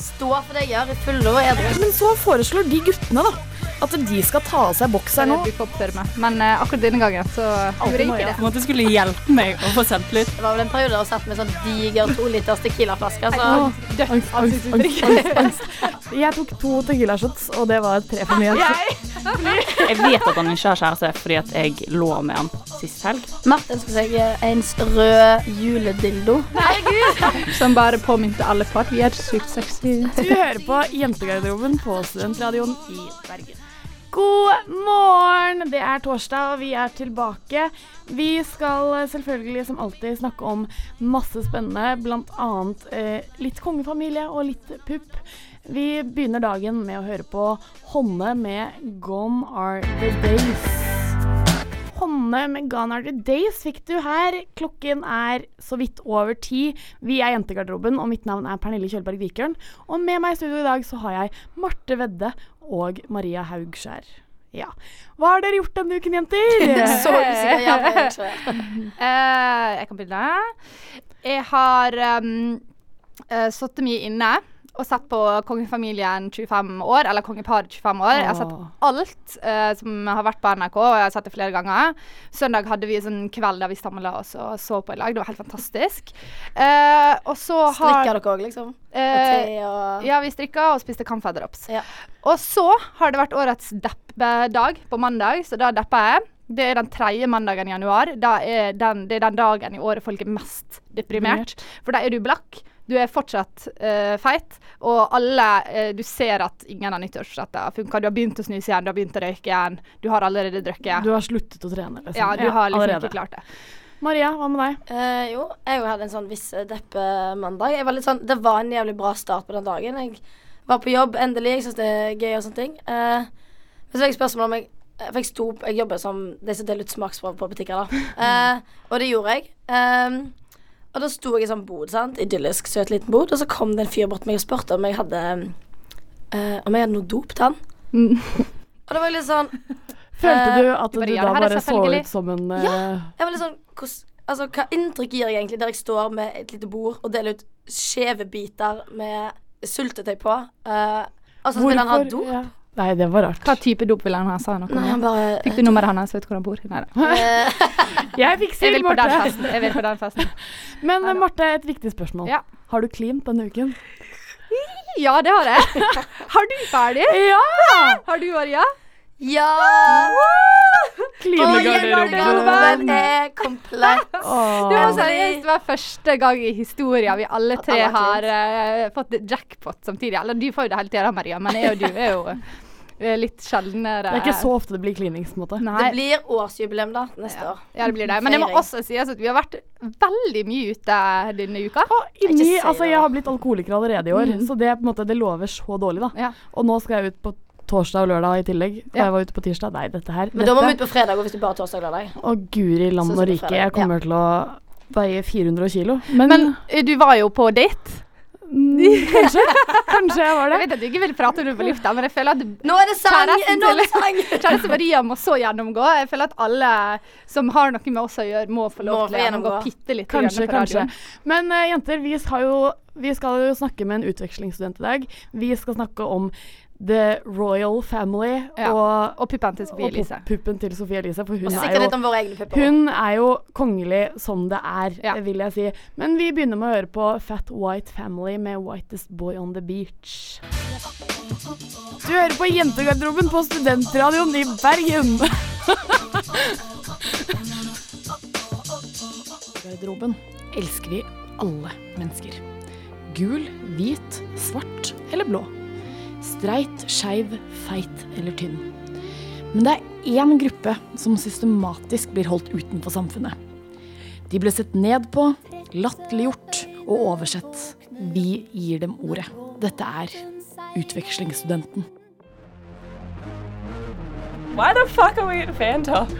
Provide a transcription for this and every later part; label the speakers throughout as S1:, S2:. S1: stå for det jeg gjør i fulle og edru.
S2: Men så foreslår de guttene da, at de skal ta av seg bokseren nå.
S3: Jeg bruker å oppføre meg. Men eh, akkurat denne gangen så gjorde jeg ikke det.
S4: På en måte skulle hjelpe meg å få selvtillit.
S1: Det var vel en periode der hun satt med sånn diger to liters Tequila-flaske. Så
S2: Angst, angst, angst, angst, angst. Jeg tok to Tequila shots, og det var tre for mye.
S4: Jeg vet at han ikke har kjæreste fordi at jeg lå med han sist helg.
S1: Martin skulle seg en rød juledildo.
S3: Som bare påminte alle på at vi er sykt sexy.
S2: Du hører på Jentegarderoben på Studentradioen i Bergen. God morgen! Det er torsdag, og vi er tilbake. Vi skal selvfølgelig som alltid snakke om masse spennende, bl.a. Eh, litt kongefamilie og litt pupp. Vi begynner dagen med å høre på Honne med 'Gone Are The Days'. Honne med 'Gone Are The Days' fikk du her. Klokken er så vidt over ti. Vi er Jentegarderoben, og mitt navn er Pernille Kjølberg Vikørn. Og med meg i studio i dag så har jeg Marte Vedde og Maria Haugskjær. Ja. Hva har dere gjort denne uken, jenter?
S1: Så usikker jeg ble ikke.
S3: Eh, jeg kan begynne. Jeg har um, eh, sittet mye inne og sett på kongefamilien 25 år, eller kongeparet 25 år. Jeg har sett
S2: Åh.
S3: alt eh, som har vært på NRK, og jeg har sett det flere ganger. Søndag hadde vi en sånn kveld der vi stamla oss og så på i lag. Det var helt fantastisk. Eh, og så har
S1: Strikker dere òg, liksom? Og
S3: eh,
S1: te og
S3: Ja, vi strikka og spiste Camphadrops.
S1: Ja.
S3: Og så har det vært årets deppedag på mandag, så da deppa jeg. Det er den tredje mandagen i januar. Da er den, det er den dagen i året folk er mest deprimert. For da er du blakk, du er fortsatt eh, feit, og alle eh, Du ser at ingen av nyttårsforsettene funker. Du har begynt å snuse igjen, du har begynt å røyke igjen, du har allerede drukket.
S2: Du har sluttet å trene, liksom.
S3: ja, du har liksom
S2: allerede.
S3: ikke klart det.
S2: Maria, hva med deg?
S1: Eh, jo, jeg jo hadde en sånn viss eh, deppemandag. Jeg var litt sånn, det var en jævlig bra start på den dagen. Jeg var på jobb, endelig. Jeg syns det er gøy og sånne ting. Eh, men så fikk jeg spørsmål om jeg eh, For jeg, sto, jeg jobber som de som deler ut smaksprøver på butikker, da. Eh, og det gjorde jeg. Ehm, og da sto jeg i sånn bod, sant. Idyllisk, søt liten bod. Og så kom det en fyr bort til meg og spurte om jeg hadde eh, Om jeg hadde noe dop til han.
S3: Mm.
S1: Og det var jeg litt sånn
S2: Følte du at
S3: du bare
S2: du da
S3: gjør Eh, det her,
S2: bare så
S3: selvfølgelig.
S2: ut som en eh,
S1: Jeg var litt sånn hvordan- Altså, Hva inntrykk gir jeg egentlig der jeg står med et lite bord og deler ut skjeve biter med sultetøy på? eh,
S3: Sånn
S1: og så vil han ha dop?
S2: ja. Nei, det var rart.
S3: Hva type dop ville han ha, sa han noe
S1: Nei, han
S3: om det?
S1: bare
S3: Fikk du nummeret hans, vet du hvor han bor? Nei da.
S1: eh,
S2: Jeg fikk
S3: Jeg
S2: sikkert
S3: vil på den
S2: Marte.
S3: festen. Jeg vil på den festen.
S2: Men eh, Marte, et viktig spørsmål.
S3: Ja.
S2: Har du klint denne uken?
S3: Ja, det har jeg. Har du ferdig?
S2: Ja!
S3: Har du, Maria?
S1: Ja! Og
S2: Klinegarderoben.
S1: gjennomgangen er komplett.
S3: Eh, Det
S2: Åh.
S3: var seriøst det var første gang i historien vi alle tre
S1: Alle har
S3: har eh, fått jackpot samtidig. Eller du får jo det hele tida, Maria, men jeg og du er jo eh, litt sjeldnere.
S2: Det er ikke så ofte det blir klinings, på en måte.
S3: Nei.
S1: Det blir årsjubileum, da, neste år.
S3: Ja, det blir det. Men det må
S1: Feiring.
S3: også sies at vi har vært veldig mye ute denne uka.
S2: Og
S1: Ikke si
S2: inni,
S1: det,
S2: altså Jeg
S1: da.
S2: har blitt alkoholiker allerede i år,
S3: Mm.
S2: så det, på en måte, det lover så dårlig. da
S3: Ja.
S2: Og nå skal jeg ut på torsdag og lørdag i tillegg. Og
S3: Ja.
S2: jeg var ute på tirsdag. Nei, dette her
S1: Men da må vi
S2: dette-
S1: ut på fredag og hvis du bare torsdag og lørdag.
S2: Å, guri land
S1: Sånn som
S2: og
S1: på
S2: rike.
S1: fredag.
S2: Jeg kommer til å veie 400 kilo. Men,
S3: Men eh, du var jo på date.
S2: mm, kanskje. Kanskje jeg var
S3: Jeg
S2: det.
S3: vet at du ikke vil prate om det på lufta, men jeg føler at
S1: Nå er det sang!
S3: Kjæresten
S1: Nå er det
S3: til-
S1: sang!
S3: Kjæreste Maria må så gjennomgå. Jeg føler at alle som har noe med oss å gjøre, må få lov
S1: Må
S3: til
S1: få
S3: å gjennomgå
S1: gjennomgå.
S3: bitte litt.
S2: Kanskje,
S3: på radioen.
S2: kanskje. Men eh, jenter, vi skal, jo, vi skal jo snakke med en utvekslingsstudent i dag. Vi skal snakke om The Royal Family
S3: Ja.
S2: og,
S3: Og puppene til Sofie
S2: og
S3: Elise.
S2: pu- puppen til Sofie Elise. For
S1: Og
S2: hun
S1: sikkert
S2: er
S1: litt
S2: jo
S1: om våre egne pupper.
S2: hun er jo kongelig som det er,
S3: Ja.
S2: vil jeg si. Men vi begynner med å høre på Fat White Family med Whitest Boy on the Beach. Du hører på Jentegarderoben på Studentradioen i Bergen. Garderoben elsker vi alle mennesker. Gul, hvit, svart eller blå. Streit, skeiv, feit eller tynn. Men det er én gruppe som systematisk blir holdt utenfor samfunnet. De ble sett ned på, latterliggjort og oversett. Vi gir dem ordet. Dette er utvekslingsstudenten.
S4: Why the fuck are we at Fantoff?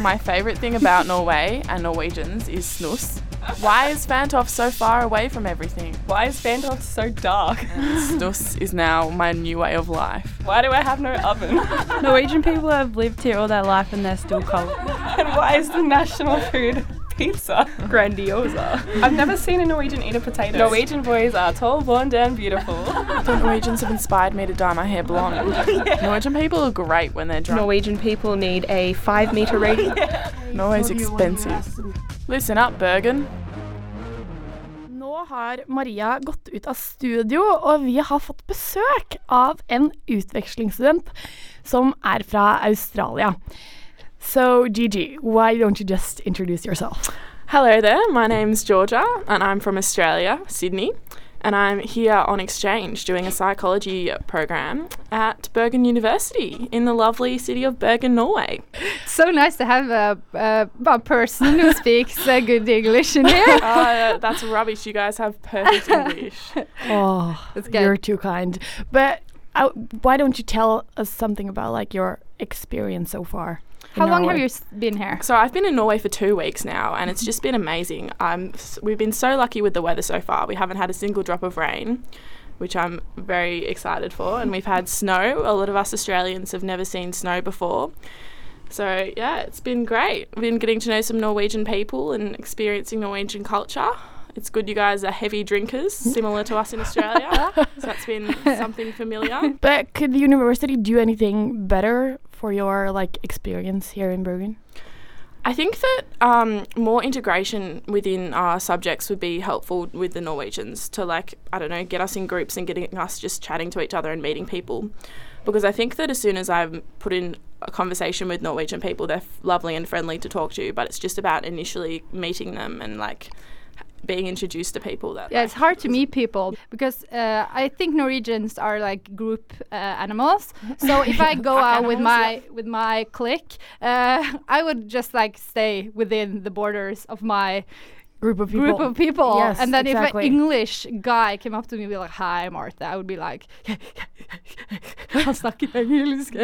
S4: My favorite thing about Norway and Norwegians is snus. Why is Fantoff so far away from everything?
S5: Why is Fantoff so dark?
S4: Snus is now my new way of life.
S5: Why do I have no oven?
S6: Norwegian people have lived here all their life and they're still cold.
S5: And why is the national food pizza.
S3: Grandiosa.
S5: I've never seen a Norwegian eat a potato. Norwegian boys are tall, blonde, and beautiful.
S4: The Norwegians have inspired me to dye my hair blonde. Norwegian people are great when they're drunk.
S6: Norwegian people need a five meter radius.
S4: Norway's expensive. Listen up, Bergen.
S2: Nå har Maria gått ut av studio, og vi har fått besøk av en utvekslingsstudent som er fra Australia. So, Gigi, why don't you just introduce yourself?
S7: Hello there, my name's Georgia and I'm from Australia, Sydney, and I'm here on exchange doing a psychology program at Bergen University in the lovely city of Bergen, Norway.
S3: So nice to have a, a, a person who speaks uh, good English in here.
S7: Uh, that's rubbish, you guys have perfect English.
S2: Oh,
S3: good.
S2: you're too kind. But uh, why don't you tell us something about like your experience so far? in
S3: How long have
S2: Norway?
S3: you s- been here?
S7: So I've been in Norway for two weeks now, and it's just been amazing. I'm, s- we've been so lucky with the weather so far. We haven't had a single drop of rain, which I'm very excited for. And we've had snow. A lot of us Australians have never seen snow before. So yeah, it's been great. I've been getting to know some Norwegian people and experiencing Norwegian culture. It's good you guys are heavy drinkers, similar to us in Australia. so that's been something familiar.
S2: But could the university do anything better for your like experience here in Bergen?
S7: I think that um, more integration within our subjects would be helpful with the Norwegians to, like, I don't know, get us in groups and getting us just chatting to each other and meeting people. Because I think that as soon as I've put in a conversation with Norwegian people, they're f- lovely and friendly to talk to, but it's just about initially meeting them and, like, h- being introduced to people that.
S3: Yeah, it's hard to meet people because uh, I think Norwegians are like group uh, animals. So if I go out with my with my clique, uh, I would just like stay within the borders of my
S2: Group of people.
S3: group of people.
S2: Yes,
S3: and then
S2: exactly.
S3: if an English guy came up to me and be like, "Hi, Martha," I would be like, "Han snakker engelsk."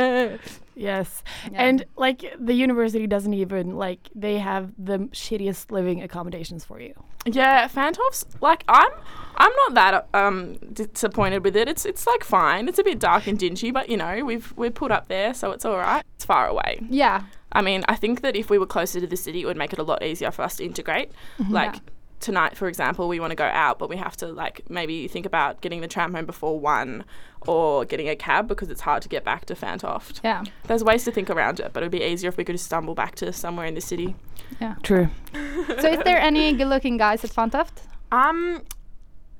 S2: Yes.
S3: Yeah.
S2: And like the university doesn't even like they have the shittiest living accommodations for you.
S7: Yeah, Fantoffs. Like I'm, I'm not that um, disappointed with it. It's it's like fine. It's a bit dark and dingy, but you know we've we're put up there, so it's all right. It's far away.
S3: Yeah.
S7: I mean, I think that if we were closer to the city, it would make it a lot easier for us to integrate. Like
S3: Yeah.
S7: tonight, for example, we want to go out, but we have to like maybe think about getting the tram home before one, or getting a cab because it's hard to get back to Fantoft.
S3: Yeah.
S7: There's ways to think around it, but it'd be easier if we could just stumble back to somewhere in the city.
S2: True.
S3: So is there any good-looking guys at Fantaft?
S7: Um,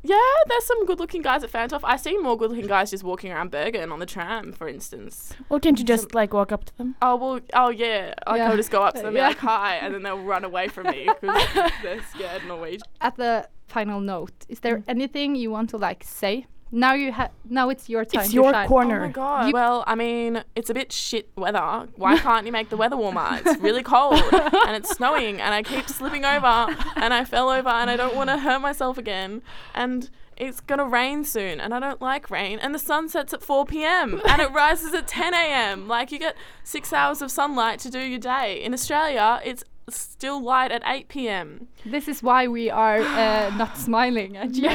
S7: yeah, there's some good-looking guys at Fantoff. I see more good-looking guys just walking around Bergen on the tram, for instance.
S2: Well, can't you
S7: Mm.
S2: just like walk up to them?
S7: Oh well, oh yeah. Like,
S3: Yeah.
S7: I'll just go up to them, and be
S3: Yeah.
S7: like hi, and then they'll run away from me because they're scared Norwegian.
S3: At the final note, is there
S7: Mm.
S3: anything you want to like say? Now you have. Now it's your time.
S2: It's
S3: to
S2: your
S3: shine.
S2: corner.
S7: Oh my god.
S3: You-
S7: well, I mean, it's a bit shit weather. Why can't you make the weather warmer? It's really cold and it's snowing and I keep slipping over and I fell over and I don't want to hurt myself again. And it's going to rain soon and I don't like rain. And the sun sets at 4 p.m. and it rises at 10 a.m. Like you get six hours of sunlight to do your day. In Australia, it's still light at 8 p.m.
S3: This is why we are uh, not smiling at you.
S7: I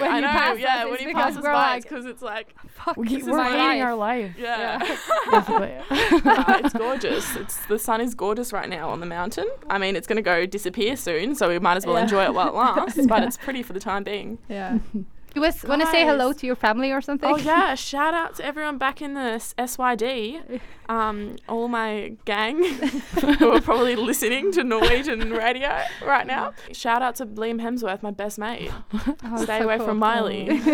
S3: when
S7: I
S3: you
S7: know.
S3: pass
S7: yeah,
S3: us,
S7: when
S3: it's
S7: you
S3: because
S7: pass us
S3: we're
S7: by,
S3: like,
S7: it's because it's like,
S3: Fuck,
S2: We,
S3: this is
S2: we're
S3: my
S2: hating
S3: life.
S2: our life.
S7: yeah.
S2: basically.
S7: Uh, it's gorgeous. It's the sun is gorgeous right now on the mountain. I mean, it's going to go disappear soon, so we might as well enjoy it while it lasts. But it's pretty for the time being.
S3: Yeah. You was want to say hello to your family or something?
S7: Oh yeah! Shout out to everyone back in the S- SYD, um, all my gang who are probably listening to Norwegian radio right now. Shout out to Liam Hemsworth, my best mate.
S3: Oh, it's
S7: Stay
S3: so
S7: away
S3: cool.
S7: from Miley.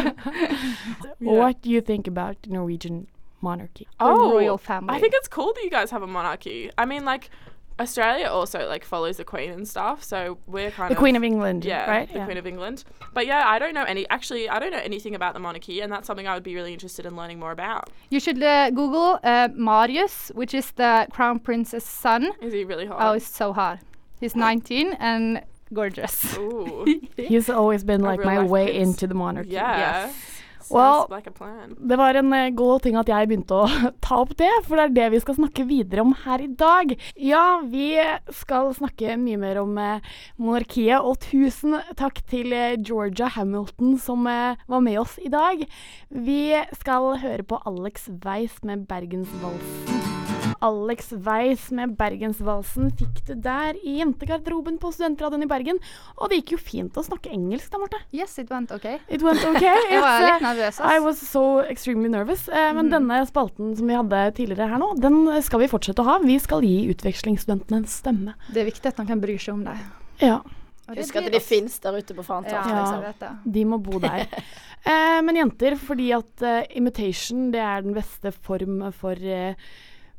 S7: Yeah.
S2: What do you think about the Norwegian monarchy?
S3: Oh, royal family.
S7: I think it's cool that you guys have a monarchy. I mean, like Australia also like follows the Queen and stuff, so we're kind
S2: The
S7: of
S2: Queen of England,
S7: yeah,
S2: right?
S7: the Queen of England. But yeah, I don't know any. Actually, I don't know anything about the monarchy, and that's something I would be really interested in learning more about.
S3: you should uh, Google uh, Marius, which is the crown prince's son.
S7: Is he really
S3: Oh,
S7: hot?
S3: it's so hot. He's 19 and gorgeous.
S7: Ooh,
S2: He's always been like
S7: real
S2: my
S7: life
S2: way
S7: prince.
S2: into the monarchy.
S7: yeah. Sounds
S2: Well-
S7: like a plan.
S2: Det var en eh, god ting at jeg begynte å ta opp det, for det er det vi skal snakke videre om her i dag. Ja, vi skal snakke mye mer om eh, monarkiet, og tusen takk til eh, Georgia Hamilton som eh, var med oss i dag. Vi skal høre på Alex Weiss med Bergensvalsen. Alex Weiss med Bergensvalsen fikk du der i jentegarderoben på Studentradioen i Bergen. Og det gikk jo fint å snakke engelsk da, Marte.
S3: Yes, it went OK.
S2: It went okay.
S3: Jeg var
S2: It's,
S3: litt
S2: uh,
S3: nervøs.
S2: I
S3: ass. Mm.
S2: was so extremely nervous. Eh, men denne spalten som vi hadde tidligere her nå, den skal vi fortsette å ha. Vi skal gi utvekslingsstudentene en stemme.
S3: Det er viktig at noen bryr seg om deg.
S2: Ja,
S3: Og
S1: Husk at
S3: blir
S1: de
S3: oss.
S1: fins der ute på faen
S3: Ja, liksom.
S1: ta.
S2: Ja.
S3: jeg vet det.
S2: de må bo der. Eh, men jenter, fordi at eh, imitation det er den beste form for eh,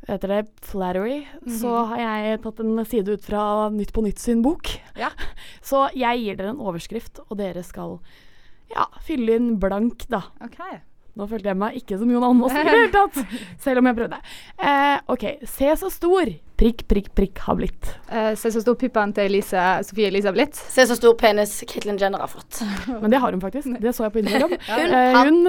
S2: hva heter det, flattery,
S3: Mhm.
S2: så har jeg tatt en side ut fra Nytt på Nytt sin bok.
S3: Ja.
S2: Så jeg gir dere en overskrift, og dere skal ja, fylle inn blank, da.
S3: OK.
S2: Nå følte jeg meg ikke som Jon Almaas i det hele tatt, selv om jeg prøvde. Eh, OK. Se så stor prikk, prikk, prikk har blitt.
S3: Eh, Se så stor puppen til Elise, Sofie Elise har blitt.
S1: Se så stor penis Caitlyn Jenner har fått.
S2: Men det har hun faktisk. Det så jeg på Instagram.
S1: Hun
S2: Eh,
S1: har
S2: hun,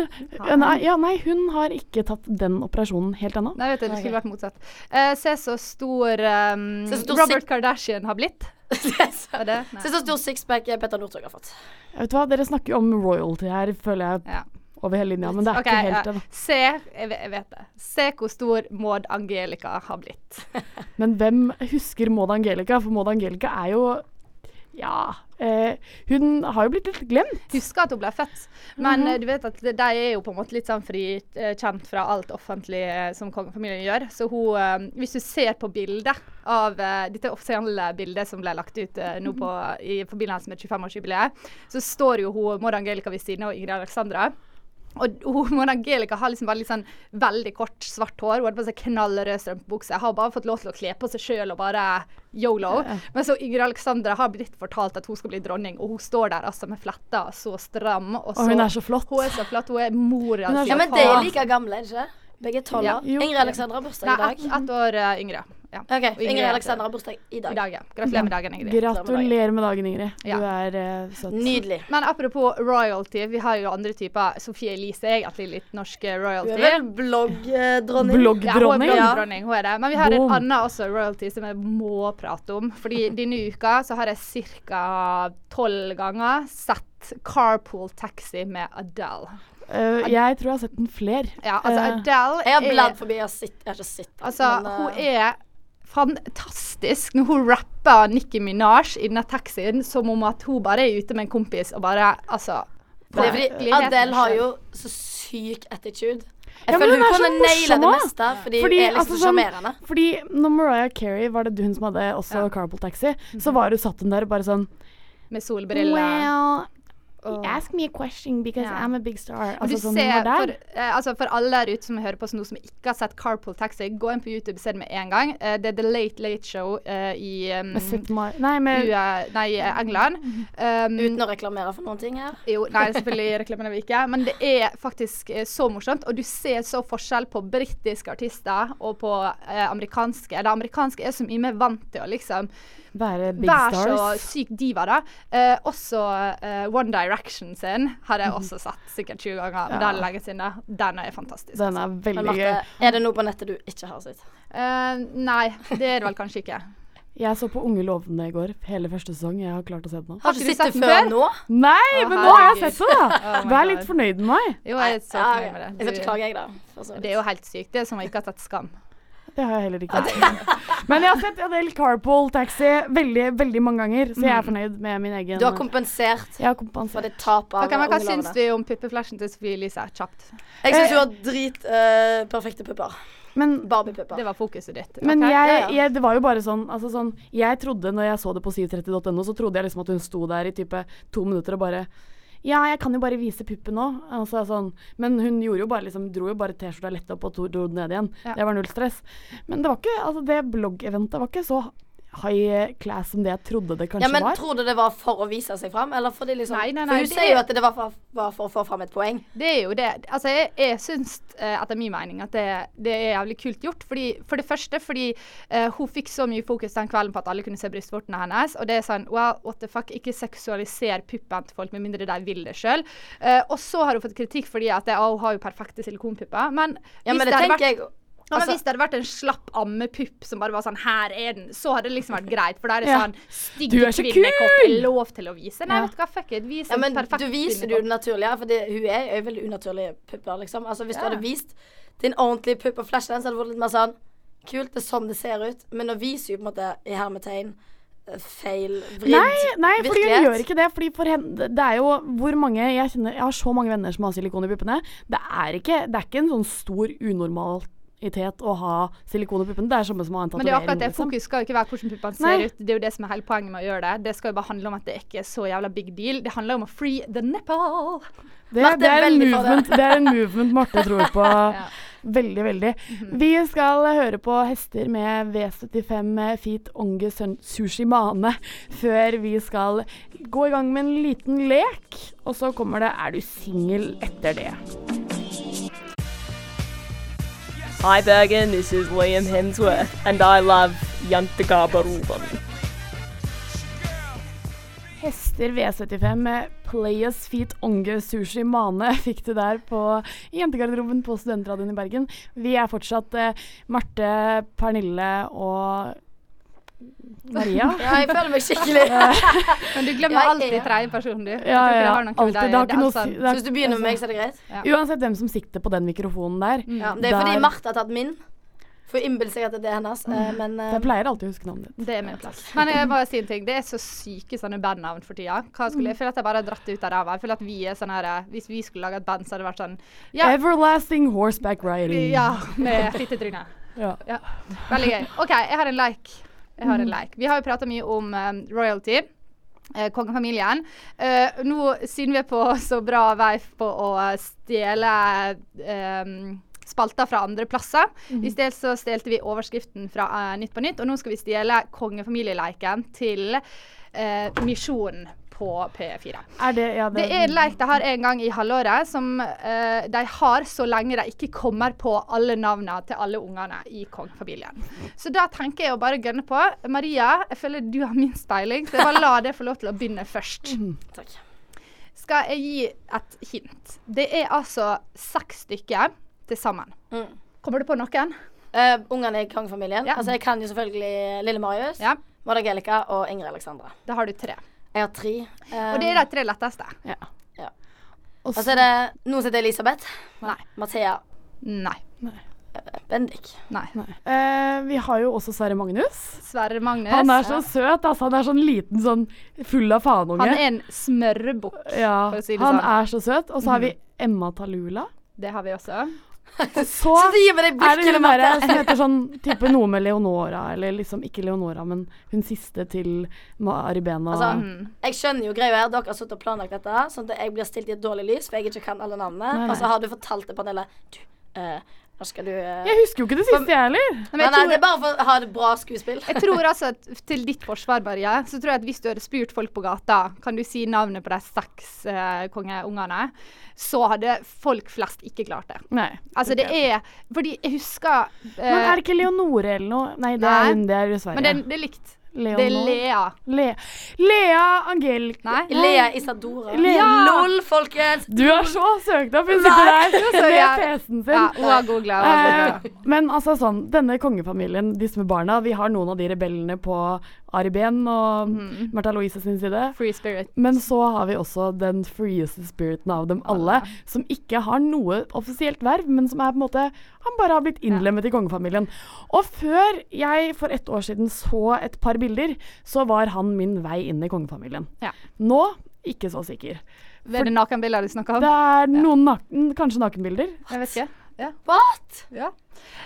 S2: nei, ja, nei, hun har ikke tatt den operasjonen helt ennå.
S3: Nei, vet du, det skulle vært motsatt. Eh, se så stor ehm,
S1: Se så stor
S3: Robert
S1: sik-
S3: Kardashian har blitt. Er det? Nei.
S1: Se så stor sixpack Petter Northug har fått.
S2: Vet du hva, Dere snakker jo om royalty her, føler jeg,
S3: Ja.
S2: over hele linja. Men det er
S3: Ok,
S2: ikke helt
S3: ja.
S2: ennå.
S3: Se, jeg vet, jeg vet det. Se hvor stor Maud Angelica har blitt.
S2: Men hvem husker Maud Angelica? For Maud Angelica er jo Ja. Eh, hun har jo blitt litt glemt.
S3: Husker at hun ble født, men eh, du vet at de de er jo på en måte litt sånn frikjent fra alt offentlig eh, som kongefamilien gjør. Så hun eh, Hvis du ser på bildet av eh, dette offisielle bildet som ble lagt ut eh, nå på, i forbindelse med 25-årsjubileet, så står jo hun Maud Angelica ved siden av Ingrid Alexandra. Og hun, Mona Angelica har liksom bare litt sånn veldig kort, svart hår. Hun hadde på seg knallrød strømpebukse. Har bare fått lov til å kle på seg sjøl og bare yolo. Men så Ingrid Alexandra har blitt fortalt at hun skal bli dronning, og hun står der altså med fletta, så stram. Og, så,
S2: Og hun er så flott.
S3: Hun er så flott. Hun er mora
S2: Hun er
S1: Ja,
S2: så
S3: si.
S1: men de er like gamle, er de ikke det? Begge er tolv
S3: Ja.
S1: år.
S2: Jo.
S1: Ingrid Alexandra har bursdag
S3: Nei,
S1: i dag.
S3: ett ett år eh, yngre. Ja.
S1: OK,
S3: Og
S1: Ingrid
S3: er-
S1: Alexandra har bursdag i
S3: I
S1: dag.
S3: dag, ja. Gratulerer med dagen, Ingrid.
S2: Gratulerer med dagen, Ingrid.
S3: Ja. Mm.
S2: Du er eh, søt.
S1: Nydelig.
S3: Men apropos royalty, vi har jo andre typer. Sofie Elise er egentlig litt norsk eh,
S1: Du
S3: royalty.
S1: er vel bloggdronning?
S2: Bloggdronning.
S3: Ja, hun
S1: Ja.
S3: er bloggdronning, hun er det. Men vi har
S2: Boom.
S3: en annen også royalty som jeg må prate om. Fordi denne uka så har jeg ca. tolv ganger sett Carpool Taxi med Adele.
S2: Eh, jeg tror jeg har sett den fler.
S3: Ja, altså
S2: Eh,
S3: Adele
S1: Jeg har bladd
S3: er
S1: forbi, jeg har sitt- jeg har ikke sett den,
S3: Altså,
S1: men,
S3: hun
S1: eh,
S3: er fantastisk når hun rapper Nicki Minaj i denne taxien som om at hun bare er ute med en kompis og bare Altså.
S1: Det er fordi
S3: virkeligheten
S1: Adele har
S3: selv.
S1: jo så syk attitude.
S2: Ja,
S1: Jeg
S2: men
S1: føler hun
S2: hun er så
S1: kunne naila
S2: morsom
S1: det
S2: også.
S1: meste, fordi
S2: Fordi,
S1: hun er
S2: altså,
S1: liksom så
S2: sånn-
S1: sjarmerende.
S2: Fordi når Mariah Carey var det hun som hadde også Carpool Taxi, så var hun satt den der bare sånn
S3: Med solbriller. og-
S2: ask me a question because
S3: Ja.
S2: a big star.
S3: Men
S2: Altså,
S3: du
S2: sånn,
S3: ser,
S2: hun var
S3: for,
S2: der.
S3: eh, altså for alle der ute som hører på oss nå som ikke har sett Carpool Taxi, gå inn på YouTube og se det med en gang. Eh, det er The Late Late Show eh, i, um,
S2: Med Seth Mar- Nei, med
S3: UA, nei, i England.
S2: Mhm.
S3: Um,
S1: Uten å reklamere for noen ting her.
S3: jo, nei, selvfølgelig reklamerer vi ikke, men det er faktisk eh, så morsomt. Og du ser så forskjell på britiske artister og på eh, amerikanske. Det amerikanske er så mye mer vant til å liksom
S2: være big
S3: Vær så
S2: stars.
S3: syk diva, da. Eh, også eh, One Direction sin har jeg også sett sikkert 20 ganger. Men
S2: Mhm. Ja.
S3: den legges inn der. Den er fantastisk.
S2: Den er
S1: Men
S2: veldig gøy.
S1: Marte, er det noe på nettet du ikke har sett?
S3: Eh, nei, det er det vel kanskje ikke.
S2: Jeg så på Unge lovende i går, hele første sesong. Jeg har klart å se den nå.
S1: Har
S3: ikke
S1: ikke
S3: du
S1: du
S3: sett
S1: sett
S3: den
S1: det før
S3: før?
S1: nå?
S2: Nei,
S3: Å,
S2: men nå har jeg
S3: herregud.
S2: sett den, da!
S3: Oh
S2: Vær
S3: my God.
S2: litt fornøyd med meg.
S3: Jo, jeg er så
S1: Ja,
S3: fornøyd
S1: ja.
S3: med
S1: ah, Jeg skal ikke
S3: det.
S1: klage, jeg, da. for så
S3: Du,
S1: vidt.
S3: det er jo helt sykt. Det er som om jeg ikke har tatt skam.
S2: Det har jeg heller ikke. Men jeg har sett en del Carpool Taxi veldig, veldig mange ganger, så jeg er fornøyd med min egen
S1: Du har kompensert
S2: Jeg har kompensert.
S1: for det tapet av
S3: Ok, men Hva
S1: Unge
S3: syns
S1: lovende.
S3: vi om puppeflashen til Sofie Elise? Kjapt.
S1: Jeg syns hun har dritperfekte perfekte pupper.
S2: Men,
S3: Det
S1: Barbie-pupper.
S3: var fokuset ditt.
S2: men
S3: ok?
S2: jeg,
S1: ja, ja.
S2: jeg, det var jo bare sånn, altså sånn Jeg trodde når jeg så det på 730.no, så trodde jeg liksom at hun sto der i type to minutter og bare ja, jeg kan jo bare vise puppen nå. Altså, sånn. Men hun gjorde jo bare, liksom, dro jo bare T-skjorta lett opp og to- dro den ned igjen.
S3: Ja.
S2: Det var null stress. Men det var ikke, altså, det bloggeventet var ikke så high class som det jeg trodde det kanskje
S1: Ja, men
S2: var.
S1: Tror du det var for å vise seg fram? Eller fordi liksom,
S3: Nei, nei,
S1: for
S3: nei,
S1: hun
S3: det-
S1: sier jo at det var for, var for å få fram et poeng.
S3: Det er jo det. Altså, jeg, jeg syns eh, etter min mening at det, det er jævlig kult gjort. Fordi, for det første fordi eh, hun fikk så mye fokus den kvelden på at alle kunne se brystvortene hennes. Og det er sånn well, what the fuck, ikke seksualiser puppen til folk med mindre de vil det sjøl. og så har hun fått kritikk fordi at det, «Å, hun har jo perfekte silikonpupper. Men,
S1: Ja,
S3: hvis
S1: men det
S3: hadde vært-
S1: tenker jeg
S3: ja, men
S1: altså-
S3: Hvis det hadde vært en slapp ammepupp som bare var sånn Her er den. Så hadde det liksom vært greit. For da er det
S2: Ja.
S3: sånn
S2: Du
S3: Stygge
S2: er så
S3: kvinnekopp er
S2: kul!
S3: lov til å vise. Nei,
S2: Ja.
S3: vet du hva, fuck it. Vis
S1: Ja,
S3: en
S1: men
S3: perfekt
S1: du viser det
S3: kvinnekopp.
S1: jo naturlige, for det, hun er jo veldig unaturlige pupper, liksom. Altså, hvis
S3: Ja.
S1: du hadde vist din ordentlige pupp og flashe den, så hadde det vært litt mer sånn kult, det er sånn det ser ut, men nå viser jo på en måte i hermetegn eh, feil, vridd
S2: Nei, nei for hun
S1: virkelighet.
S2: gjør ikke det. Fordi for henne, det er jo hvor mange jeg kjenner Jeg har så mange venner som har silikon i puppene. Det er ikke, det er ikke en sånn stor unormalitet å ha silikon i puppene. Det er samme som å ha en
S3: Men det er
S2: tatovering.
S3: jo akkurat det.
S2: liksom.
S3: Fokus skal jo ikke være hvordan puppene ser
S2: Nei.
S3: ut. Det er jo det som er hele poenget med å gjøre det. Det skal jo bare handle om at det ikke er så jævla big deal. Det handler om å free the nipple.
S2: Det,
S1: Marte er
S2: det, er en
S1: veldig for det.
S2: movement, det er en movement Marte tror på. Veldig, veldig.
S3: Mhm.
S2: Vi skal høre på hester med V75 Feet Onge Sun- Sushi Mane før vi skal gå i gang med en liten lek. Og så kommer det 'Er du singel?' etter det.
S6: Hi, Bergen. This is Liam Hemsworth, and I love Yantagabaruban.
S2: Hester V75 med Players Feet Onge Sushi Mane fikk du der på i jentegarderoben på Studentradioen i Bergen. Vi er fortsatt eh, Marte, Pernille og Maria.
S1: Ja, jeg føler meg skikkelig
S3: Men du glemmer
S1: Jeg
S3: alltid
S1: er-
S3: tredjepersonen, du. Jeg
S2: Ja,
S3: tror ikke
S2: ja,
S3: har noe med
S2: alltid.
S3: deg å
S2: Det har
S3: gjøre.
S2: ikke noe
S3: Altså,
S2: å si. det
S3: Det er helt sant.
S1: Så hvis
S2: er-
S1: du begynner med meg, så er det greit.
S3: Ja.
S2: Uansett hvem som sitter på den mikrofonen der.
S3: Mm.
S1: Ja, det er fordi
S2: Mm. Der- Mm.
S1: Marte har tatt min. For å innbille seg at det er hennes. eh, Men eh,
S2: Jeg pleier alltid å huske navnet ditt.
S3: Det er min plass. Men jeg må bare si en ting. Det er så syke sånne bandnavn for tida. Hva skulle,
S2: Mm.
S3: jeg føler at jeg bare har dratt det ut av ræva. Jeg føler at vi er sånn her eh, Hvis vi skulle lage et band, så hadde det vært sånn Ja.
S2: Everlasting Horseback Riding.
S3: ja med fittetryne.
S2: Ja.
S3: Ja. Veldig gøy. OK, jeg har en leik. Jeg har en leik. Vi har jo prata mye om eh, royalty. eh, Kongefamilien. Eh, nå, siden vi er på så bra vei på å stjele eh, spalter fra andre plasser I stedet så stjelte vi overskriften fra eh, Nytt på Nytt, og nå skal vi stjele kongefamilieleiken til eh, Misjonen på P4.
S2: Er det, ja,
S3: Det er en leik de har en gang i halvåret, som eh, de har så lenge de ikke kommer på alle navnene til alle ungene i kongefamilien. Så da tenker jeg å bare gønne på. Maria, jeg føler du har minst peiling, så jeg bare la det få lov til å begynne først.
S2: Mm.
S1: takk.
S3: Skal jeg gi et hint? Det er altså seks stykker til sammen.
S1: Mm.
S3: Kommer du på noen?
S1: Eh, Ungene i kongefamilien.
S3: Ja.
S1: Altså, jeg kan jo selvfølgelig Lille Marius,
S3: Ja.
S1: Maud Angelica og Ingrid Alexandra.
S3: Da har du tre.
S1: Jeg har tre. Eh,
S3: Og det er de tre letteste.
S2: Ja.
S1: Ja.
S2: Og
S1: Og så er det noen som heter Elisabeth.
S3: Nei.
S1: Mathea.
S3: Nei.
S1: Bendik.
S3: Nei.
S2: Eh, vi har jo også Sverre Magnus.
S3: Sverre Magnus.
S2: Han er så søt, altså. Han er sånn liten, sånn full av faenunge.
S3: Han er en smørbukk,
S2: Ja,
S3: for å si det
S2: han
S3: sånn. Mhm.
S2: er så søt. Og så har vi Emma Talula.
S3: Det har vi også.
S2: Og så
S1: Så gi meg det
S2: er det
S1: blikket,
S2: hun
S1: Marte.
S2: derre som heter sånn type noe med Leonora, eller liksom ikke Leonora, men hun siste til Maribena.
S1: Altså, Jeg skjønner jo greia her, dere har sittet og planlagt dette, sånn at jeg blir stilt i et dårlig lys, for jeg ikke kan alle navnene.
S2: Nei, nei.
S1: Og så har du fortalt til panelet Du, eh, nå skal du eh,
S2: jeg husker jo ikke det siste, jeg heller.
S3: Men
S1: Nei,
S3: jeg
S1: nei,
S3: tror-
S1: det er bare for å ha et bra skuespill.
S3: Jeg tror altså at Til ditt forsvar, Maria, så tror jeg at hvis du hadde spurt folk på gata kan du si navnet på de seks eh, kongeungene, så hadde folk flest ikke klart det.
S2: Nei.
S3: Altså det er Fordi jeg husker eh,
S2: Men er det ikke Leonore eller noe? Nei, det
S3: Nei.
S2: er hun, det er i
S3: men det,
S2: Sverige.
S3: er- det er likt. Det er
S2: Leonor.
S3: Lea.
S2: Le Lea Angel...
S3: Nei?
S1: Lea Isadora.
S2: Lea.
S1: LOL, folkens!
S2: Du er så søkt opp! Hun sitter der med PC-en sin.
S3: Ja, hun har googla.
S2: Eh, men altså sånn, denne kongefamilien, disse med barna, vi har noen av de rebellene på Ari Behn og
S3: Mhm.
S2: Martha Louise sin side.
S3: Free spirit.
S2: Men så har vi også den freeste spiriten av dem alle, som ikke har noe offisielt verv, men som er på en måte Han bare har blitt innlemmet i kongefamilien. Og før jeg for et år siden så et par bilder, så var han min vei inn i kongefamilien.
S3: Ja.
S2: Nå ikke så sikker.
S3: Er det nakenbilder du snakker om?
S2: Det er noen naken, kanskje nakenbilder.
S3: Jeg vet ikke. Ja.
S1: What?
S3: Ja.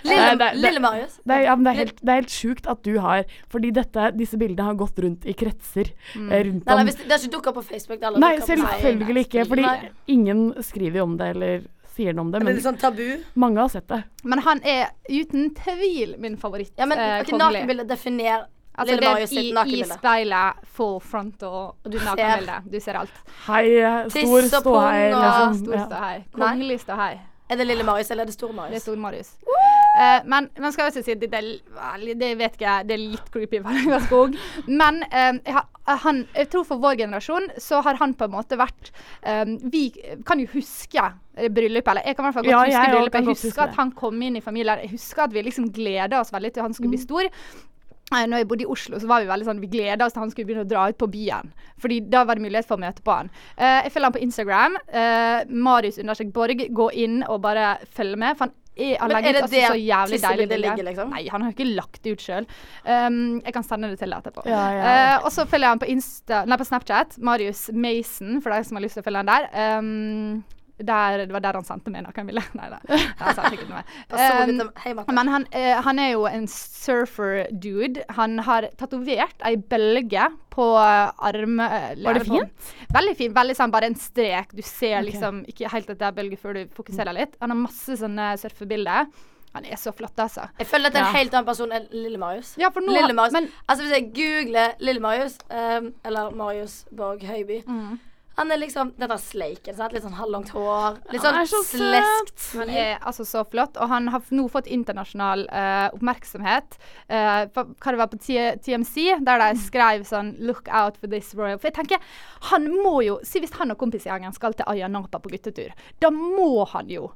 S1: Lille,
S2: Nei, det- det-
S1: Lille Marius.
S2: Det er, ja, men det er helt, det er helt sjukt at du har Fordi dette, disse bildene har gått rundt i kretser. eh, Rundt
S1: Mm. Nei, nei,
S2: om.
S1: hvis det, det har ikke dukka opp på Facebook. Det har aldri
S2: Nei,
S1: dukket opp.
S2: selvfølgelig ikke. Fordi
S1: Nei.
S2: ingen skriver jo om det eller sier noe om det.
S1: Det er
S2: Men
S1: litt sånn tabu.
S2: mange har sett det.
S3: Men han er uten tvil min favoritt.
S1: Ja, men
S3: eh,
S1: ok,
S3: kongelig.
S1: Nakenbilde, definer
S3: Altså
S1: Lille
S3: det
S1: Marius sitt
S3: er i, i
S1: nakenbilde.
S3: speilet, full frontal, og du nakenbilde. Du ser alt.
S2: Hei, eh,
S1: Tiss
S2: stor
S1: og
S2: ståhei.
S1: pung og
S3: Ja,
S2: Liksom.
S3: stor
S2: Ja.
S3: ståhei. Kongelig ståhei.
S1: Er det Lille Marius eller er det Store
S3: Det er
S1: Marius?
S3: stor Marius. Eh, men man skal også si at det, det, er li- det vet ikke jeg, det er litt creepy hver gang jeg skog. Men eh, jeg, har- han, jeg tror for vår generasjon så har han på en måte vært eh, Vi kan jo huske eh, bryllupet, eller jeg kan i hvert fall godt
S2: Ja, jeg
S3: huske
S2: også
S3: bryllupet.
S2: kan
S3: Jeg
S2: godt huske
S3: husker
S2: det.
S3: at han kom inn i familien. Jeg husker at vi liksom gleda oss veldig til han skulle bli
S2: Mm.
S3: stor. Eh, Når jeg bodde i Oslo, så var vi veldig sånn, vi gleda oss til han skulle begynne å dra ut på byen. Fordi da var det mulighet for å møte på han. Eh, jeg følger han på Instagram. Uh, Marius understrek Borg. Gå inn og bare følg med. For han er
S1: Men er
S3: allergisk.
S1: det
S3: Altså,
S1: der
S3: så jævlig deilig
S1: tissebildet
S3: bilde.
S1: ligger, liksom?
S3: Nei, han har jo ikke lagt det ut sjøl. Um, jeg kan sende det til deg etterpå.
S2: Ja, ja.
S3: Eh, og så følger jeg han på, Insta, nei, på Snapchat. Marius Mason, for deg som har lyst til å følge han der. Um, der. Det var der han sendte meg noe han ville. Nei, nei. Han sendte ikke noe.
S1: Personlig
S3: Um,
S1: til- Hei, Marte.
S3: men han, eh, han er jo en surfer-dude. Han har tatovert ei bølge på eh, arme... eh,
S2: Var det
S3: eller på- Veldig fint. Veldig sånn bare en strek. Du ser liksom ikke helt at det er bølge før du fokuserer litt. Han har masse sånne surfebilder. Han er så flott, altså.
S1: Jeg føler at det er en helt annen person enn Lille Marius.
S3: Ja, for nå
S1: Lille Marius.
S3: men,
S1: Altså Hvis jeg googler Lille Marius, ehm, eller Marius Borg Høiby
S3: Mm.
S1: Han er liksom den der sleiken. Sant? Litt sånn halvlangt hår. Litt sånn
S2: Han er så søt.
S1: sleskt.
S3: Han er altså så flott, og han har f- nå fått internasjonal eh, oppmerksomhet. eh, på- hva det var på T TMC, der
S2: Mm.
S3: de skrev sånn 'Look out for this royal'. For jeg tenker, han må jo Si hvis han og kompisgjengen skal til Ayia Napa på guttetur, da må han jo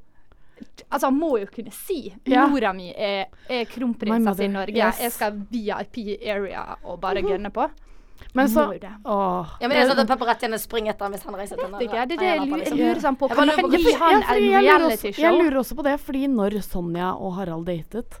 S3: Altså, han må jo kunne si
S2: Ja.
S3: Mora mi er,
S2: My
S3: er kronprinsesse
S2: mother,
S3: i Norge.
S2: yes. Mhm.
S3: Jeg skal VIP-area og bare gønne på.
S2: Men så
S3: Må jo det.
S2: Åh.
S1: Ja, men det er sånn at Paparettiene springer etter ham hvis han reiser til
S3: Det er det jeg
S1: Napa,
S3: lurer, jeg
S1: liksom.
S3: lurer sånn på.
S1: Jeg
S3: Kan
S1: bare
S3: dere
S1: lurer på-
S3: gi
S2: Ja,
S3: han
S2: fordi
S3: en
S2: jeg, lurer også, jeg
S3: realityshow?
S2: lurer også på det, fordi når Sonja og Harald datet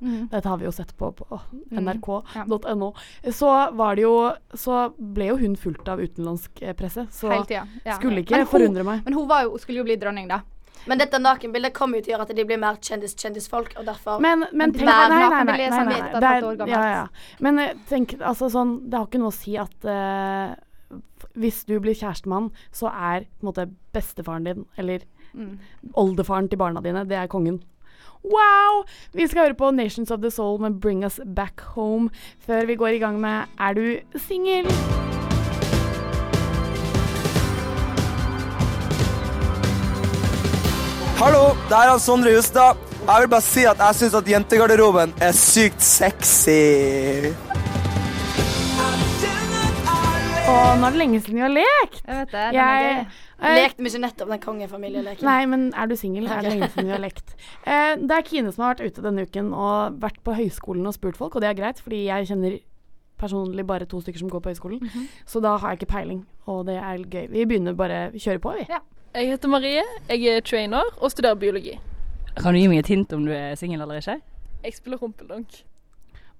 S1: Mm.
S3: Mm.
S2: Dette har vi jo sett på på nrk.no. Så var det jo Så ble jo hun fulgt av utenlandsk eh, presse, så
S3: Hele tida. Ja.
S2: skulle
S3: Men
S2: ikke
S3: hun-
S2: forundre meg.
S3: Men hun var jo, skulle jo bli dronning, da.
S1: Men dette nakenbildet kommer jo til å gjøre at de blir mer kjendis-kjendisfolk, og derfor
S2: Men, men
S3: Men
S2: tenk nei,
S3: hver
S2: nei,
S3: naken
S2: nei,
S3: blir
S2: nei, nei,
S3: leser
S2: nei.
S3: med
S2: Det
S3: et og et halvt år
S2: er,
S3: gammel.
S2: ja, ja. Men eh, tenk, altså sånn Det har ikke noe å si at eh, hvis du blir kjærestemann, så er på en måte bestefaren din, eller
S3: Mm.
S2: oldefaren til barna dine, det er kongen. Wow! Vi skal høre på Nations of the Soul med Bring Us Back Home før vi går i gang med Er du singel?
S8: Hallo, det her er Sondre Justad. Jeg vil bare si at jeg syns at jentegarderoben er sykt sexy.
S2: Å, nå er det lenge siden vi har lekt!
S3: Jeg vet det. Den er
S2: Jeg,
S3: gøy.
S2: eh,
S1: Lekte vi ikke nettopp den kongefamilieleken?
S2: Nei, men er du singel? Er det lenge siden vi har lekt? Eh, det er Kine som har vært ute denne uken og vært på høyskolen og spurt folk, og det er greit, fordi jeg kjenner personlig bare to stykker som går på høyskolen, så da har jeg ikke peiling, og det er gøy. Vi begynner bare å kjøre på, vi.
S6: Jeg heter Marie, jeg er trainer og studerer biologi.
S9: Kan du gi meg et hint om du er singel eller ikke?
S6: Jeg spiller rumpeldunk.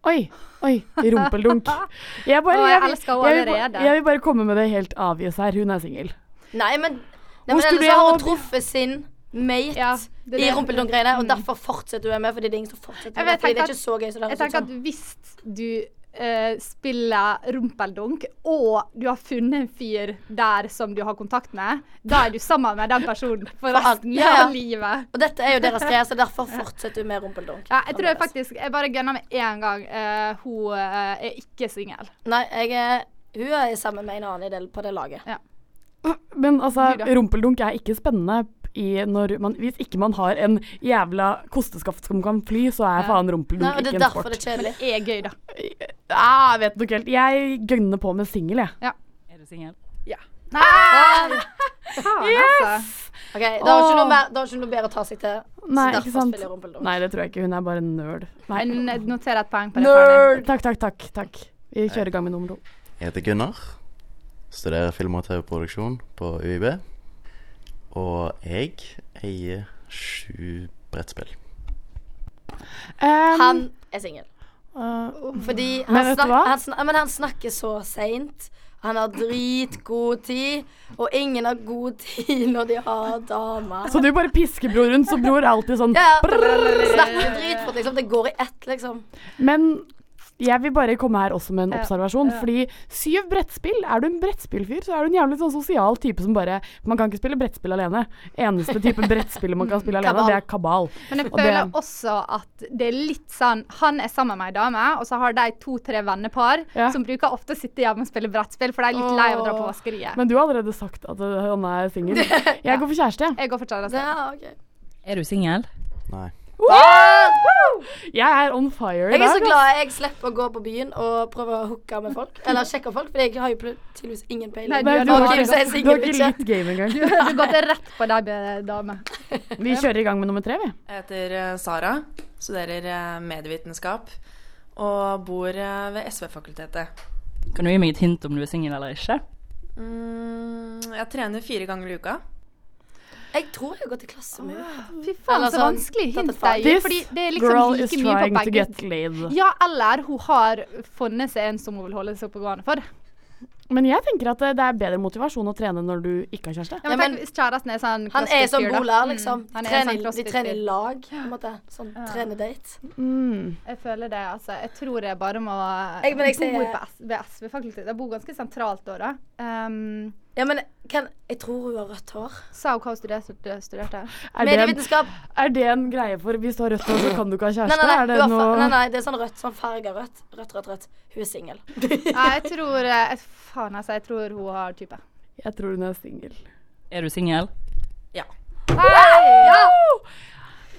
S2: Oi, oi, rumpeldunk. Jeg, bare,
S3: Å, jeg
S2: vil-
S3: elsker henne
S2: jeg, vil,
S3: allerede.
S2: ba- jeg vil bare komme med det helt avgjøs her, hun er singel.
S1: Nei, men, nei,
S2: Hvor
S1: men ellers
S2: studerer
S1: har hun
S2: du?
S1: truffet sin mate
S3: Ja, det er
S1: i
S3: det. Mm.
S1: rumpeldunk-greiene, og derfor fortsetter hun med, fordi det er ingen som fortsetter
S3: Jeg
S1: med det.
S3: vet,
S1: Fordi det
S3: tenker
S1: er ikke så gøy som det
S3: Jeg
S1: høres ut
S3: tenker
S1: som.
S3: at hvis du eh, spiller rumpeldunk, og du har funnet en fyr der som du har kontakt med, da er du sammen med den personen for resten
S1: ja, ja.
S3: av livet.
S1: Og dette er jo deres greie, så derfor fortsetter hun med rumpeldunk.
S3: Ja, jeg tror jeg faktisk Jeg bare gønner med én gang. eh, hun eh, er ikke singel.
S1: Nei, jeg er hun er sammen med en annen i del på det laget.
S2: Men altså,
S3: Du da?
S2: rumpeldunk er ikke spennende i når man, hvis ikke man har en jævla kosteskaft som kan fly, så er faen rumpeldunk
S1: Nei, og Det er
S2: ikke en
S1: derfor
S2: sport.
S1: det er kjedelig.
S3: Det er gøy, da.
S2: Ah, vet nok helt. Jeg gønner på med singel, jeg.
S9: Er du singel?
S3: Faen, altså.
S1: Ok, Da er ikke noe, mer, da er ikke noe bedre å ta seg til.
S2: Nei,
S1: så
S2: ikke
S1: derfor
S2: sant?
S1: spiller jeg rumpeldunk.
S2: Nei, det tror jeg ikke. Hun er bare nerd. Nei.
S3: Men jeg noterer et poeng på det. Fanny.
S2: Nerd! Takk, takk, takk. takk. Vi kjører i gang med nummer to.
S10: Jeg heter Gunnar. Studerer film- og TV-produksjon på UiB. Og jeg eier sju brettspill.
S2: Um,
S1: Han er singel.
S2: øh,
S3: Oh.
S1: Fordi han,
S2: Men vet du
S1: snak,
S2: hva?
S1: han, snak, men han snakker så seint. Han har dritgod tid, og ingen har god tid når de har dame.
S2: så du bare pisker bror rundt, så bror er alltid sånn
S1: Ja,
S2: brrr.
S1: snakker dritfort, liksom. Det går i ett, liksom.
S2: Men jeg vil bare komme her også med en observasjon. Fordi syv brettspill Er du en brettspillfyr, så er du en jævlig sånn sosial type som bare Man kan ikke spille brettspill alene. Eneste type brettspill man kan spille alene,
S1: Kabal.
S2: det er kabal.
S3: Men jeg
S2: Og det-
S3: føler også at det er litt sånn Han er sammen med ei dame, og så har de to-tre vennepar
S2: Ja.
S3: som bruker ofte å sitte hjemme og spille brettspill, for de er litt lei av å dra på vaskeriet.
S2: Men du har allerede sagt at øh, han er singel. Jeg går for kjæreste, jeg.
S3: Jeg går fortsatt altså.
S1: Ja, ok.
S9: Er du singel?
S10: Nei.
S2: Jeg er on fire i
S1: Jeg er så
S2: dag. ass.
S1: glad jeg slipper å gå på byen og prøve å hooke med folk. Eller sjekke folk, for jeg har jo pl- tydeligvis ingen
S3: Nei,
S1: peiling.
S3: du
S2: Nei,
S3: er
S2: du
S1: Og
S2: har
S1: Kim
S2: ikke,
S1: sier
S2: du har
S1: singel
S2: ikke
S1: ikke.
S2: litt game engang.
S3: Du går til rett på deg, be- dame.
S2: Vi kjører i gang med nummer tre, vi.
S11: Jeg heter eh, Sara, studerer eh, medievitenskap og bor eh, ved SV-fakultetet.
S9: Kan du gi meg et hint om du er singel eller ikke?
S11: Mm, Jeg trener fire ganger i uka.
S1: Jeg tror jeg har gått i klasse med henne.
S3: Fy faen, så
S2: sånn
S3: vanskelig hint det er.
S2: This
S3: Fordi det er liksom
S2: girl is
S3: like mye på
S2: trying to
S3: begge.
S2: get laid.
S3: Ja, eller hun har funnet seg en som hun vil holde seg oppe gående for.
S2: Men jeg tenker at eh, det er bedre motivasjon å trene når du ikke har kjæreste.
S3: Ja, men, tenk hvis kjæresten er sånn
S1: Han er
S3: crossfit-fyr,
S1: som
S3: da.
S1: Bola,
S3: Mm.
S1: liksom.
S3: Han er en
S1: trener,
S3: sånn
S1: de
S3: crossfit-fyr.
S1: trener i lag, på en måte. Sånn trenerdate.
S3: Jeg føler det, altså. Jeg tror jeg bare må
S1: Jeg- men jeg
S3: bor
S1: sier-
S3: på S ved SV, faktisk. Jeg bor ganske sentralt da, da. Um,
S1: ja, men kan, jeg tror hun har rødt hår.
S3: Sa hun hva hun studerte? studerte?
S2: Er det en- Er det en greie for hvis du har rødt hår, så kan du ikke ha
S1: Nei,
S2: kjæreste?
S1: nei, nei,
S2: er det
S1: hun har fa-
S2: noe-
S1: nei, nei, det er sånn rødt, sånn farga rødt. Rødt, rødt, rødt. Hun er singel.
S3: Nei, jeg tror eh, Faen, altså. Jeg tror hun har type.
S2: Jeg tror hun er singel.
S9: Er du singel?
S3: Hey!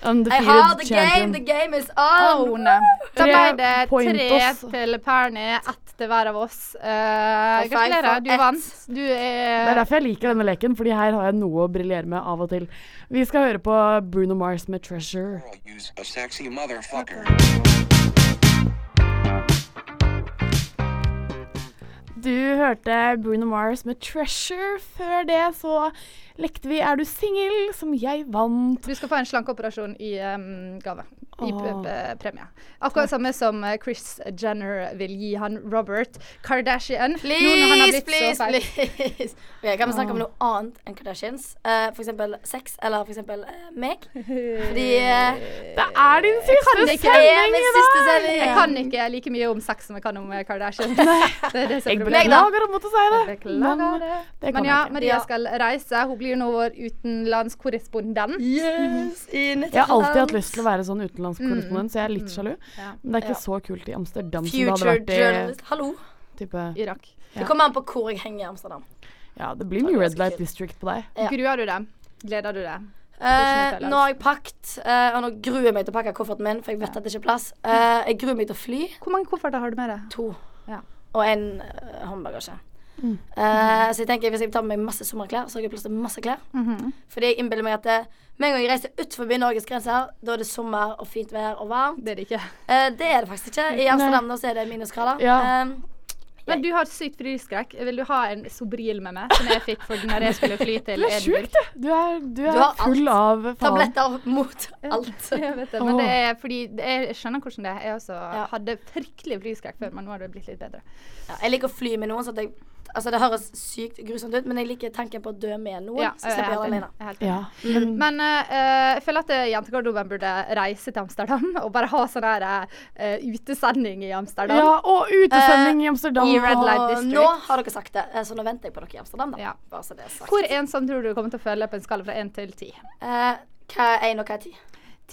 S2: Um,
S1: Jeg har the game, the game is on!
S3: Own. Da ble
S1: Tre
S3: det
S1: point
S3: tre
S1: oss.
S3: til Perny, ett til hver av oss. Eh,
S1: Og feil for
S3: gratulerer, du
S1: ett.
S3: vant. Du er
S2: Det er derfor jeg liker denne leken, fordi her har jeg noe å briljere med av og til. Vi skal høre på Bruno Mars med 'Treasure'.
S12: A sexy motherfucker.
S2: Du hørte Bruno Mars med 'Treasure'. Før det så lekte vi 'Er du singel?', som jeg vant.
S3: Du skal få en slankeoperasjon i em, gave. I p-
S2: Åh.
S3: p- premie. Akkurat samme som eh, Chris Jenner vil gi han Robert Kardashian. nå når han har
S1: Please,
S3: blitt så
S1: please,
S3: feit.
S1: please. Ok, kan vi snakke om noe annet enn Kardashians? Eh, for eksempel sex, eller for eksempel eh, meg. Fordi eh,
S2: Det er din siste
S3: kan ikke-
S1: sending i dag!
S3: Jeg kan ikke like mye om sex som jeg kan om eh, Kardashian. det er det som er
S2: Jeg
S3: problemet.
S2: beklager å måtte si det.
S3: Beklager
S2: men det kan
S3: Men ja,
S2: jeg ikke.
S3: Maria skal reise. Hun blir jo nå vår utenlandskorrespondent.
S1: Yes, i
S2: Jeg har alltid hatt lyst til å være sånn utenlandskorrespondent, så jeg er litt sjalu.
S3: Ja.
S2: Men det er ikke
S1: Ja.
S2: så kult i Amsterdam som det
S1: Future
S2: hadde vært eh,
S1: journalist. Hallo.
S2: i type,
S3: Irak.
S1: Det kommer an på hvor jeg henger i Amsterdam.
S2: Ja, det blir mye Red Light District på deg.
S1: Ja.
S3: Gruer du deg? Gleder du deg?
S1: Eh, nå
S3: altså.
S1: har jeg pakket, eh, og nå gruer jeg meg til å pakke kofferten min, for jeg vet at det ikke er plass. Eh, jeg gruer meg til å fly.
S3: Hvor mange kofferter har du med deg?
S1: To.
S3: Ja.
S1: Og en eh, håndbagasje.
S3: Mm.
S1: Eh, så jeg tenker hvis jeg tar med meg masse sommerklær, så har jeg plass til masse klær.
S3: Mhm.
S1: Fordi jeg innbiller meg at det, med en gang jeg reiser utenfor Norges grenser, da er det sommer og fint vær og varmt.
S3: Det er det ikke.
S1: Eh, det er det faktisk ikke. I Amsterdam nå så er det minusgrader.
S3: Ja.
S1: Eh,
S3: Men du har sykt flyskrekk. Vil du ha en Sobril med meg, som jeg fikk for når jeg skulle fly
S2: Du
S3: til
S2: er sjuk,
S3: Edinburgh?
S2: du. Du er, du er
S3: Du har alt.
S2: full av faen.
S1: Tabletter mot alt.
S3: Jeg vet det, men det er fordi det er, jeg skjønner hvordan det er. Jeg også hadde fryktelig flyskrekk før, men nå har det blitt litt bedre.
S1: Ja, jeg liker å fly med noen, så at jeg Altså, det høres sykt grusomt ut, men jeg liker tanken på å dø med noen.
S3: Ja,
S1: så jeg
S3: jeg er
S1: slipper å gjøre
S3: helt
S1: det
S3: enig.
S1: alene.
S3: Jeg er helt
S2: Ja.
S1: Mm.
S3: Men eh, jeg føler at eh, jentegarderoben burde reise til Amsterdam og bare ha sånn her eh, utesending i Amsterdam.
S2: Ja, og utesending i Amsterdam.
S3: i Red Light
S1: Og
S3: District.
S1: nå har dere sagt det, eh, så nå venter jeg på dere i Amsterdam, da. Bare så det er sagt.
S3: Hvor ensom tror du du kommer til å føle på en skala fra én til ti?
S1: Eh, hva er én og hva er ti?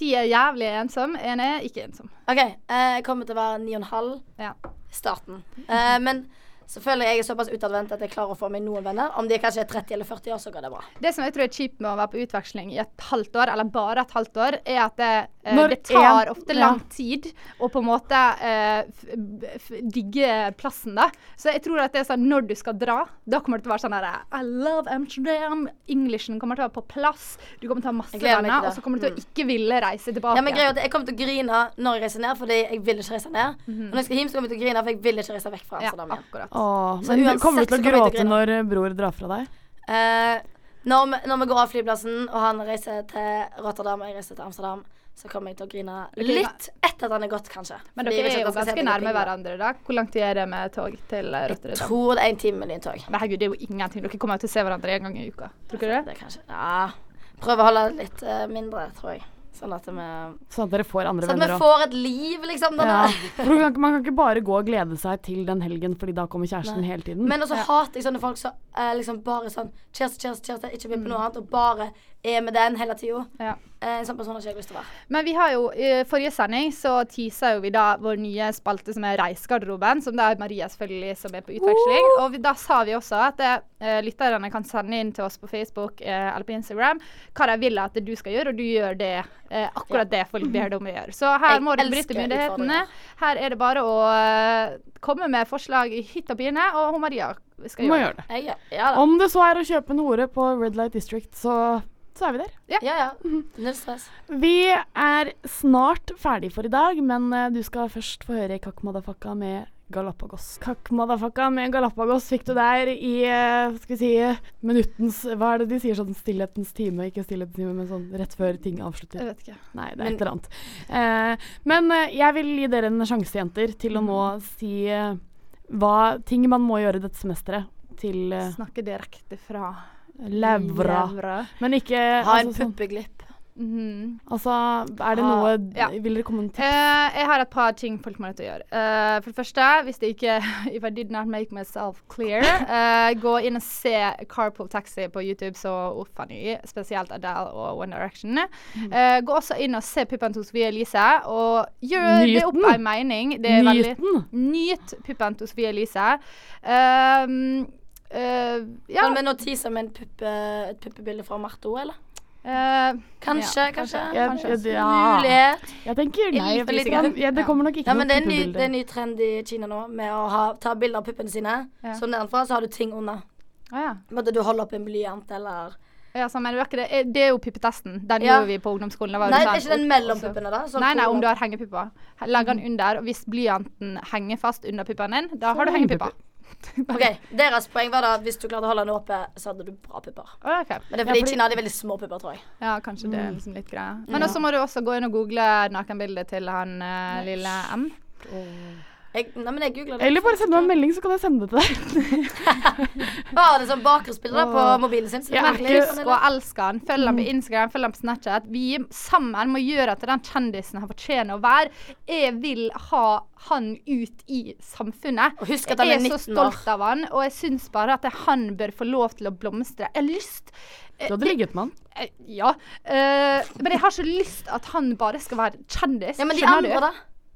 S3: Ti er jævlig ensom, én er ikke ensom.
S1: OK, eh, jeg kommer til å være ni og en halv
S3: Ja.
S1: i starten. Eh, men selvfølgelig er jeg såpass utadvendt at jeg klarer å få meg noen venner. Om de kanskje er 30 eller 40 år, så går det bra.
S3: Det som jeg tror er kjipt med å være på utveksling i et halvt år, eller bare et halvt år, er at det, eh,
S2: Når
S3: det tar
S2: en-
S3: ofte
S2: ja.
S3: lang tid å på en måte eh, f f digge plassen, da. Så jeg tror at det er sånn når du skal dra, da kommer det til å være sånn herre I love Amsterdam. Englishen kommer til å være på plass. Du kommer til å ha masse
S1: Jeg gleder meg til det.
S3: venner,
S1: Mm.
S3: og så kommer du til å ikke ville reise tilbake.
S1: Ja, men greia er at Jeg kommer til å grine når jeg reiser ned, fordi jeg vil ikke reise ned. Og når jeg skal hjem, så kommer jeg til å grine, for jeg vil ikke reise vekk fra
S3: Mhm. Ja,
S1: Amsterdam igjen.
S2: Åh,
S1: Så
S2: men
S1: uansett
S2: kommer du til
S1: så kommer jeg til
S2: å
S1: å
S2: gråte
S1: grine.
S2: når eh, bror drar fra deg?
S1: Eh, når, vi, når vi går av flyplassen, og han reiser til Rotterdam og jeg reiser til Amsterdam, så kommer jeg til å grine
S3: Dere-
S1: litt etter at han er gått, kanskje. Fordi jeg
S3: Men dere
S1: vet
S3: er
S1: ikke
S3: jo
S1: at han skal si
S3: ganske
S1: at jeg
S3: nærme
S1: pinlig.
S3: hverandre, da. Hvor langt er det med tog til eh, Rotterdam?
S1: Tror det er en time med lyntog.
S3: Men herregud, det er jo ingenting. Dere kommer jo til å se hverandre en gang i uka. Tror dere
S1: det? kanskje. Ja. Prøve å holde det litt eh, mindre, tror jeg. Sånn at vi,
S2: Sånn at dere får andre
S1: sånn at
S2: venner
S1: vi
S2: også.
S1: får et liv, liksom. denne-
S2: Ja. For du kan ikke- man kan ikke bare gå og glede seg til den helgen, fordi da kommer kjæresten
S1: Nei.
S2: hele tiden.
S1: Men også hater jeg sånne folk som eh, liksom bare sånn Cheers, cheers, cheers, ikke
S3: Mm.
S1: vil på noe annet, og bare er med den hele tida.
S3: Ja.
S1: Eh, en sånn person har ikke jeg lyst til å være.
S3: Men vi har jo, i forrige sending så teasa jo vi da vår nye spalte som er Reisegarderoben, som da er Maria selvfølgelig som er på utveksling. Og vi, da sa vi også at eh, lytterne kan sende inn til oss på Facebook eh, eller på Instagram hva de vil at du skal gjøre, og du gjør det, eh, akkurat det folk ber deg om å gjøre. Så her
S1: Jeg
S3: må du
S1: elsker
S3: bryte myndighetene.
S1: utfordringer.
S3: Her er det bare å eh, komme med forslag i hytt og pine, og hun Maria skal
S2: Må
S3: gjøre
S2: gjøre det.
S1: Jeg, gjør- ja da.
S2: Om det så er å kjøpe en hore på Red Light District, så, så er vi der.
S3: Ja,
S1: ja.
S3: Mhm.
S1: Null stress.
S2: Vi er snart ferdig for i dag, men eh, du skal først få høre Kakk Madafakka med Galapagos. Kakk madafakka med Galapagos fikk du der i eh, skal vi si, minuttens Hva er det de sier sånn stillhetens time? Ikke stillhetens time, men sånn rett før ting avslutter.
S3: Jeg vet ikke.
S2: Nei, det er
S3: Eh, Men-
S2: et eller annet. Eh, men eh, jeg vil gi dere en sjanse, jenter, til å nå si eh, hva ting man må gjøre dette semesteret til eh,
S3: Snakke direkte fra
S2: levra.
S3: levra. Mhm.
S2: Men ikke sånn,
S3: Ha en
S1: puppeglipp.
S2: Altså, er det
S3: Ha-
S2: noe
S3: Ah, ja.
S2: Vil dere komme med tips?
S3: Eh, jeg har et par ting folk må nødt til å gjøre. Eh, for det første, hvis det ikke If I did not make myself clear, eh, gå inn og se Carpool Taxi på YouTube, så uff a ny, spesielt Adele og One Direction. Eh, gå også inn og se Pippan til Sofie Elise, og gjør det opp
S2: Nyten.
S3: en mening. Eh, Det er veldig Nyt Pippan til Sofie Elise. Um, eh, ja.
S1: Kan vi nå tease med en puppe, et puppebilde fra Marte òg, eller?
S3: Eh,
S1: Kanskje,
S3: ja,
S1: kanskje.
S2: Ja,
S1: kanskje.
S2: ja.
S1: Mulighet.
S2: Jeg tenker nei.
S1: Lite
S2: hvis
S1: lite
S2: man-
S1: grann.
S2: ja, det kommer nok ikke
S1: Nei,
S2: noe
S1: men det er, en ny,
S2: puppebilde.
S1: det er en ny trend i Kina nå med å ha, ta bilder av puppene sine.
S3: Ja.
S1: Så nedenfra så har du ting under.
S3: Ah, ja.
S1: Måtte du holde opp en blyant eller
S3: Ja, så, men det, var ikke det. Eh, det er jo pippetesten. Den
S1: Ja.
S3: gjorde vi på ungdomsskolen. Det var jo
S1: Nei, det
S3: sånn-
S1: er ikke den mellom puppene, da? Sånn
S3: nei, nei,
S1: hvor-
S3: om du har hengepupper. Legg den under, og hvis blyanten henger fast under puppen din, da har du hengepupper.
S1: OK. Deres poeng var da at hvis du klarte å holde den åpen, så hadde du bra pupper. Men det er fordi i Kina har de veldig små pupper, tror jeg.
S3: Ja, kanskje det er
S1: Mm.
S3: liksom litt greia. Men
S1: Ja.
S3: også må du også gå inn og google nakenbildet til han eh, lille M.
S1: jeg nei, men jeg googla det.
S2: Eller bare
S3: sånn
S2: send meg en melding, så kan jeg sende det til deg.
S1: Bare det som bakgrunnsbilde da, på
S3: Åh.
S1: mobilen sin. så
S3: Ja,
S1: merkelig.
S3: husk å elske han. Følg han på
S1: Mm.
S3: Instagram, følg han på Snapchat. Vi sammen må gjøre at den kjendisen han fortjener å være. Jeg vil ha han ut i samfunnet.
S1: Og husk at han er
S3: jeg er så
S1: 19 år.
S3: stolt av han, og jeg syns bare at han bør få lov til å blomstre. Jeg har lyst
S2: Du hadde ligget med han.
S3: Eh, Ja. eh, men jeg har så lyst at han bare skal være kjendis.
S1: Ja, men de
S3: skjønner du?
S1: andre, da?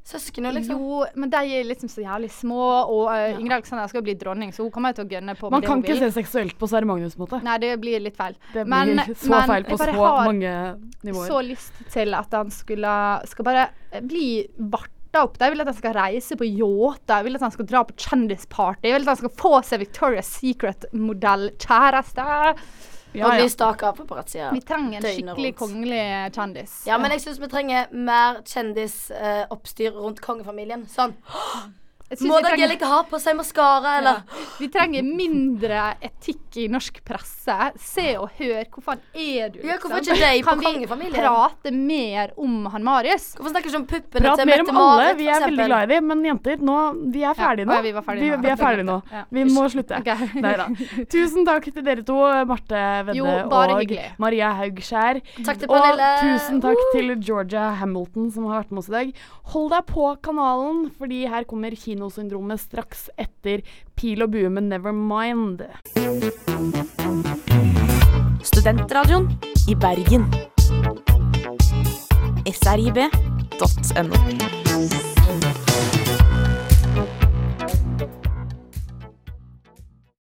S1: Søsknene, liksom?
S3: Jo, men de er liksom så jævlig små, og eh, Ingrid Alexandra skal jo bli dronning, så hun kommer jo til å gønne på med
S2: Man
S3: det
S2: kan
S3: hun
S2: ikke
S3: vil.
S2: se seksuelt på Sverre Magnus' måte.
S3: Nei, det blir litt feil.
S2: Det blir
S3: Men-
S2: så
S3: men
S2: feil på
S3: jeg bare
S2: så
S3: har
S2: mange nivåer.
S3: Så lyst til at han skulle skal bare eh, bli varta opp. Jeg vil at han skal reise på yachter, jeg vil at han skal dra på kjendisparty, jeg vil at han skal få seg Victoria's Secret-modell-kjæreste.
S1: Ja, Og bli staka av paparazzier.
S3: Vi trenger en
S1: døgnet
S3: skikkelig
S1: rundt.
S3: kongelig kjendis.
S1: Ja, men jeg syns vi trenger mer kjendisoppstyr rundt kongefamilien. Sånn
S3: Jeg synes
S1: Må
S3: vi
S1: da
S3: trenger-
S1: Angelica ha på seg maskara, eller?
S3: Ja. Vi trenger mindre etikk i norsk presse. Se og hør. Hvor faen er du, liksom?
S1: Ja, hvorfor ikke deg på kongefamilien?
S3: Kan vi prate mer om han Marius?
S1: Hvorfor snakker vi ikke om puppene
S2: Prat mer om alle. Vi er veldig glad i dem. Men jenter, nå, vi er
S3: Ja,
S2: ferdige
S3: å
S2: nå.
S3: ja, vi var ferdige
S2: vi,
S3: nå.
S2: vi er ferdige nå.
S3: Ja.
S2: Vi må slutte. Neida. Tusen takk til dere to, Marte
S3: Jo,
S2: Vedde
S3: bare
S2: og
S3: hyggelig.
S2: Maria Haugskjær.
S1: Takk til
S2: og
S1: Pernille.
S2: tusen takk til Georgia Hamilton som har vært med oss i dag. Hold deg på kanalen, fordi her kommer Kinosyndromet straks etter Pil og bue med Nevermind.
S13: Studentradioen i Bergen. srib.no.